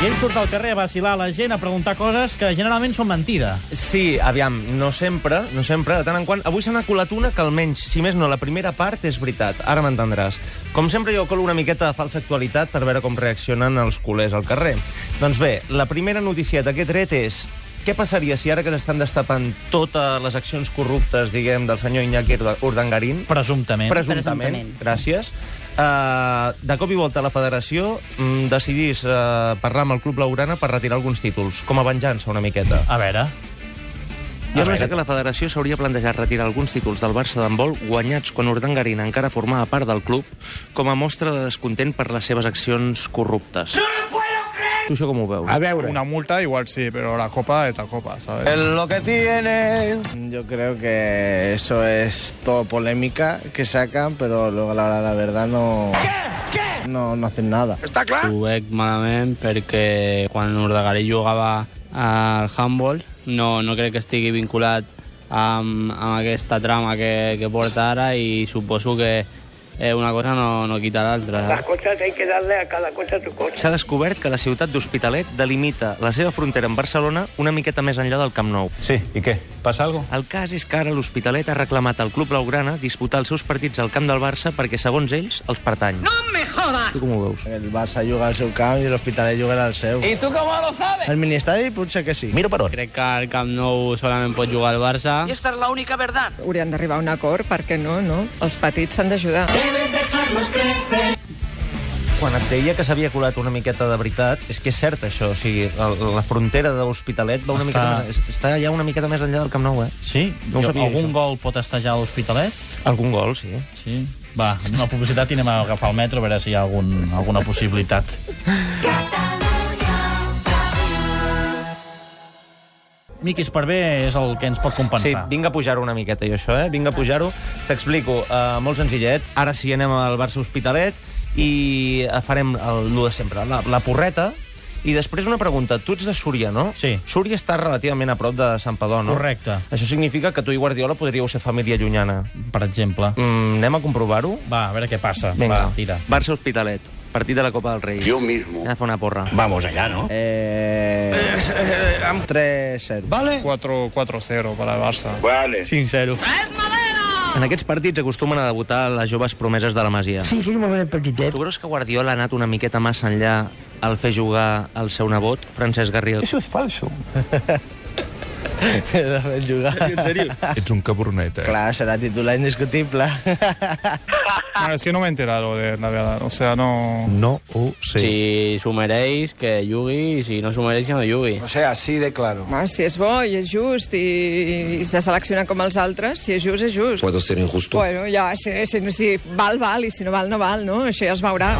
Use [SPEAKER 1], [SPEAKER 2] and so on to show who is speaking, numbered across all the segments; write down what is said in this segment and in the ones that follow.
[SPEAKER 1] I ell surt al carrer a vacilar la gent, a preguntar coses que generalment són mentida.
[SPEAKER 2] Sí, aviam, no sempre, no sempre, de tant en quant. Avui se n'ha colat una que almenys, si més no, la primera part és veritat. Ara m'entendràs. Com sempre, jo colo una miqueta de falsa actualitat per veure com reaccionen els culers al carrer. Doncs bé, la primera noticieta que he tret és què passaria si ara que s'estan destapant totes les accions corruptes, diguem, del senyor Iñaki Urda- Urdangarín,
[SPEAKER 1] Presumptament.
[SPEAKER 2] presumptament,
[SPEAKER 3] Presumptament, sí.
[SPEAKER 2] gràcies, uh, de cop i volta la federació mm, decidís uh, parlar amb el Club Laurana per retirar alguns títols, com a venjança una miqueta.
[SPEAKER 1] A veure...
[SPEAKER 2] Jo pensava que la federació s'hauria plantejat retirar alguns títols del Barça d'handbol guanyats quan Urdangarín encara formava part del club com a mostra de descontent per les seves accions corruptes. No lo puedo creer! Tu això com ho veus?
[SPEAKER 4] A veure.
[SPEAKER 5] Una multa igual sí, pero la copa es la copa, ¿sabes?
[SPEAKER 6] Yo creo que eso es todo polémica que sacan, pero luego a la hora de la verdad no... No, no hacen nada.
[SPEAKER 7] Ho veig malament perquè quan Urdegaray jugava al handball no, no crec que estigui vinculat amb, amb aquesta trama que, que porta ara i suposo que eh, una cosa no, no quita l'altra. saps?
[SPEAKER 8] cosas hay que darle a cada cosa su cosa.
[SPEAKER 2] S'ha descobert que la ciutat d'Hospitalet delimita la seva frontera amb Barcelona una miqueta més enllà del Camp Nou.
[SPEAKER 9] Sí, i què? Passa alguna
[SPEAKER 2] El cas és que ara l'Hospitalet ha reclamat al Club Blaugrana disputar els seus partits al camp del Barça perquè, segons ells, els pertany. No me jodas! Tu com ho veus?
[SPEAKER 6] El Barça juga al seu camp i l'Hospitalet juga al seu. ¿Y tú cómo lo sabes? El Ministeri potser que sí.
[SPEAKER 2] Miro per on.
[SPEAKER 7] Crec que al Camp Nou solament pot jugar el Barça.
[SPEAKER 8] Esta es la única verdad.
[SPEAKER 10] Haurien d'arribar a un acord, perquè no, no? Els petits s'han d'ajudar.
[SPEAKER 2] Quan et deia que s'havia colat una miqueta de veritat, és que és cert això, o sigui, la, la frontera de l'Hospitalet va una
[SPEAKER 1] Està-
[SPEAKER 2] està... miqueta més, està ja una miqueta més enllà del Camp Nou, eh?
[SPEAKER 1] Sí?
[SPEAKER 2] No ho sabia,
[SPEAKER 1] Algun
[SPEAKER 2] això.
[SPEAKER 1] gol pot estejar a l'Hospitalet?
[SPEAKER 2] Algun gol, sí.
[SPEAKER 1] Sí. Va, anem a publicitat i anem a agafar el metro a veure si hi ha algun, alguna possibilitat. Miqui Esparvé és el que ens pot
[SPEAKER 2] Sí,
[SPEAKER 1] compensar.
[SPEAKER 2] vinc a pujar-ho una miqueta, jo, això, eh? Vinc a pujar-ho. T'explico, uh, molt senzillet. Ara sí, anem al Barça Hospitalet i eh, farem el, el de sempre, la, la porreta. I després una pregunta. Tu ets de Súria, no?
[SPEAKER 1] Sí.
[SPEAKER 2] Súria està relativament a prop de Sant Padó, no?
[SPEAKER 1] Correcte.
[SPEAKER 2] Això significa que tu i Guardiola podríeu ser família llunyana.
[SPEAKER 1] Per exemple.
[SPEAKER 2] Mm, anem a comprovar-ho?
[SPEAKER 1] Va, a veure què passa. Va, tira.
[SPEAKER 2] Barça Hospitalet, partit de la Copa del Rei. Jo mismo. Anem a fer una porra.
[SPEAKER 4] Vamos allá, ¿no?
[SPEAKER 6] Eh... 3-0.
[SPEAKER 4] Vale.
[SPEAKER 5] 4-4-0 para el Barça.
[SPEAKER 7] Sincero.
[SPEAKER 2] En aquests partits acostumen a debutar les joves promeses de la Masia.
[SPEAKER 6] Sí, que moment petitet.
[SPEAKER 2] Tu creus que Guardiola ha anat una miqueta massa enllà al fer jugar el seu nebot, Francesc Garriel?
[SPEAKER 9] Això és falso.
[SPEAKER 6] jugar.
[SPEAKER 9] Ets un cabronet, eh?
[SPEAKER 6] Clar, serà titular indiscutible.
[SPEAKER 5] No, es que no me he enterado de la verdad, o sea, no...
[SPEAKER 9] No ho sé.
[SPEAKER 7] Si s'ho mereix, que jugui, i si no s'ho mereix, que no jugui.
[SPEAKER 4] sea, así de claro.
[SPEAKER 10] Va, si és bo i és just i, i se selecciona com els altres, si és just, és just.
[SPEAKER 4] Puedo ser injusto.
[SPEAKER 10] Bueno, ja, si, si, si val, val, i si no val, no val, no? Això ja es veurà.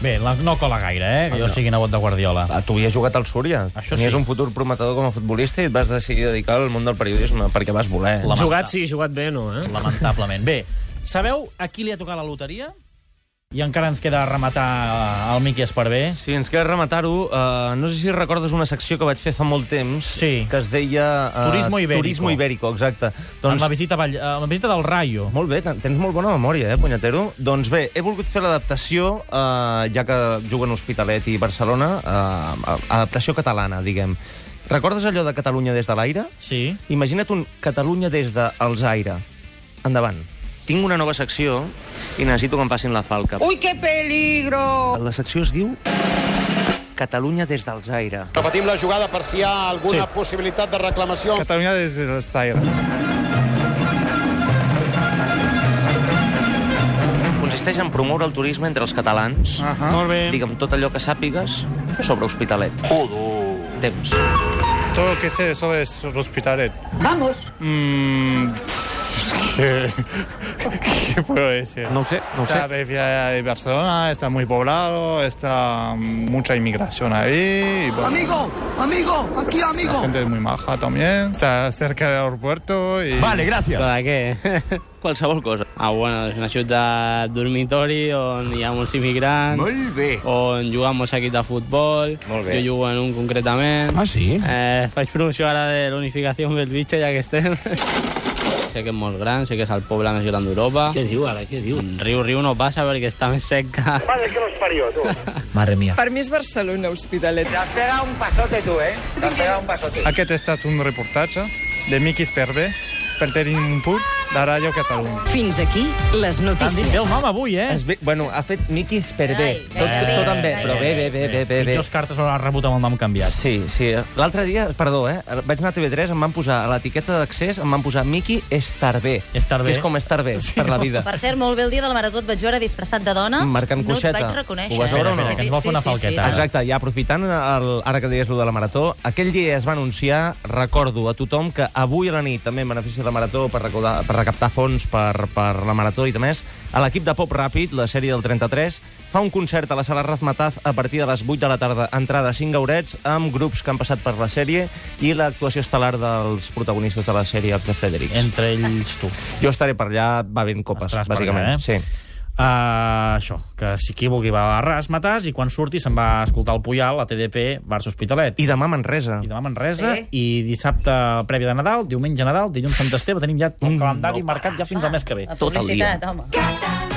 [SPEAKER 1] Bé, la, no cola gaire,
[SPEAKER 6] Ah,
[SPEAKER 1] eh? Que jo sigui nebot de Guardiola.
[SPEAKER 2] Ah, tu hi has jugat al Súria.
[SPEAKER 1] Això
[SPEAKER 2] Tenies
[SPEAKER 1] sí.
[SPEAKER 2] un futur prometedor com a futbolista i et vas decidir dedicar al món del periodisme perquè vas voler.
[SPEAKER 1] Lamenta-
[SPEAKER 3] sí, jugat bé, no, eh?
[SPEAKER 1] Lamentablement. Bé, sabeu a qui li ha tocat la loteria? I encara ens queda rematar eh, el Miqui Esparvé.
[SPEAKER 2] Sí, ens queda rematar-ho. Uh, no sé si recordes una secció que vaig fer fa molt temps
[SPEAKER 1] Sí.
[SPEAKER 2] que es deia... eh,
[SPEAKER 1] Turismo ibérico.
[SPEAKER 2] Turismo ibérico, exacte.
[SPEAKER 1] Doncs... Amb, la visita, a Vall- amb la visita del Rayo.
[SPEAKER 2] Molt bé, ten- tens molt bona memòria, eh, punyatero? Doncs bé, he volgut fer l'adaptació, eh, ja que juguen Hospitalet i Barcelona, eh, adaptació catalana, diguem. Recordes allò de Catalunya des de l'aire?
[SPEAKER 1] Sí.
[SPEAKER 2] Imagina't un Catalunya des dels aire. Endavant. Tinc una nova secció i necessito que em facin la falca.
[SPEAKER 8] ¡Uy, qué peligro!
[SPEAKER 2] La secció es diu Catalunya des dels aire.
[SPEAKER 4] Repetim la jugada per si hi ha alguna sí. possibilitat de reclamació.
[SPEAKER 5] Cataluña desde el Zaire.
[SPEAKER 2] Consisteix en promoure el turisme entre els catalans.
[SPEAKER 5] Ajá. Molt bé.
[SPEAKER 2] Digue'm tot allò que sàpigues sobre Hospitalet. Jodo. Temps.
[SPEAKER 5] Todo lo que sé sobre el hospital. Vamos. ¿qué, ¿Qué puedo decir?
[SPEAKER 2] No ho sé, no ho sé.
[SPEAKER 5] La periferia de Barcelona está muy poblado, está mm, mucha inmigración ahí. y bueno,
[SPEAKER 6] Amigo, amigo, aquí
[SPEAKER 5] la
[SPEAKER 6] amigo.
[SPEAKER 5] gente es muy maja también. Está cerca del aeropuerto y...
[SPEAKER 7] Però de què?
[SPEAKER 2] Qualsevol cosa.
[SPEAKER 7] Ah, bueno, és una ciutat dormitori on hi ha molts immigrants. Molt bé. On juguen molts equips de futbol. Molt bé. Jo jugo en un concretament.
[SPEAKER 4] Ah, sí?
[SPEAKER 7] Eh, faig promoció ara de l'unificació amb el bitxo, ja que estem. Sé que és molt gran, sé que és el poble més gran d'Europa. Mm,
[SPEAKER 3] Què diu ara, què diu?
[SPEAKER 7] Riu, riu no passa perquè està més sec que...
[SPEAKER 8] Madre que los parió, tu.
[SPEAKER 1] Mare mia.
[SPEAKER 10] Per mi és Barcelona, Hospitalet.
[SPEAKER 8] T'has pegat un pasote, tu, eh? T'has pegat un pasote.
[SPEAKER 5] Aquest ha estat un reportatge de Miquis per bé per tenir un punt de Ràdio Catalunya.
[SPEAKER 11] Fins aquí les
[SPEAKER 1] T'han dit bé el
[SPEAKER 11] notícies.
[SPEAKER 1] nom avui, eh?
[SPEAKER 2] Es ve... Bueno, ha fet miquis per bé.
[SPEAKER 12] Ai,
[SPEAKER 2] Tot,
[SPEAKER 3] Eh,
[SPEAKER 1] gairebé,
[SPEAKER 2] tot en bé, però bé, bé, bé, bé, bé. bé.
[SPEAKER 1] Pitjors cartes l'ha rebut amb el nom canviat.
[SPEAKER 2] Sí, sí. L'altre dia, perdó, eh? Vaig anar a TV3, em van posar a l'etiqueta d'accés, em van posar Miqui estar bé.
[SPEAKER 1] Estar bé.
[SPEAKER 2] Que és com estar bé, sí, per la vida.
[SPEAKER 12] Per cert, molt bé el dia de la Marató et vaig veure disfressat de dona.
[SPEAKER 2] Marcant coixeta.
[SPEAKER 12] No et vaig reconèixer.
[SPEAKER 2] Ho vas veure o no?
[SPEAKER 12] eh?
[SPEAKER 1] Que ens vol fer una falqueta. Ara.
[SPEAKER 2] Exacte, ja aprofitant el, ara que deies lo de la marató, aquell dia es va anunciar, recordo a tothom que avui a la nit, també en benefici de la marató, per, recordar, per recaptar fons per, per la marató i també, a l'equip de Pop Ràpid, la sèrie del 33, fa un concert a la sala Razmataz a partir de les 8 de la tarda. Entrada a 5 gaurets amb grups que han passat per la sèrie i l'actuació estel·lar dels protagonistes de la sèrie, els de Fredericks.
[SPEAKER 1] Entre ells tu.
[SPEAKER 2] Jo estaré per allà bevent copes,
[SPEAKER 1] Estaràs per
[SPEAKER 2] bàsicament.
[SPEAKER 1] allà, eh?
[SPEAKER 2] Sí.
[SPEAKER 1] Uh, això, que si qui vulgui va a ras, matàs, i quan surti se'n va a escoltar el Puyal, la TDP, Barça Hospitalet. I,
[SPEAKER 2] I demà a Manresa.
[SPEAKER 1] I demà Manresa,
[SPEAKER 10] Sí.
[SPEAKER 1] sí. i dissabte prèvia de Nadal, diumenge Nadal, dilluns Sant Esteve, tenim ja el calendari marcat ja fins al mes que ve.
[SPEAKER 12] La publicitat, home.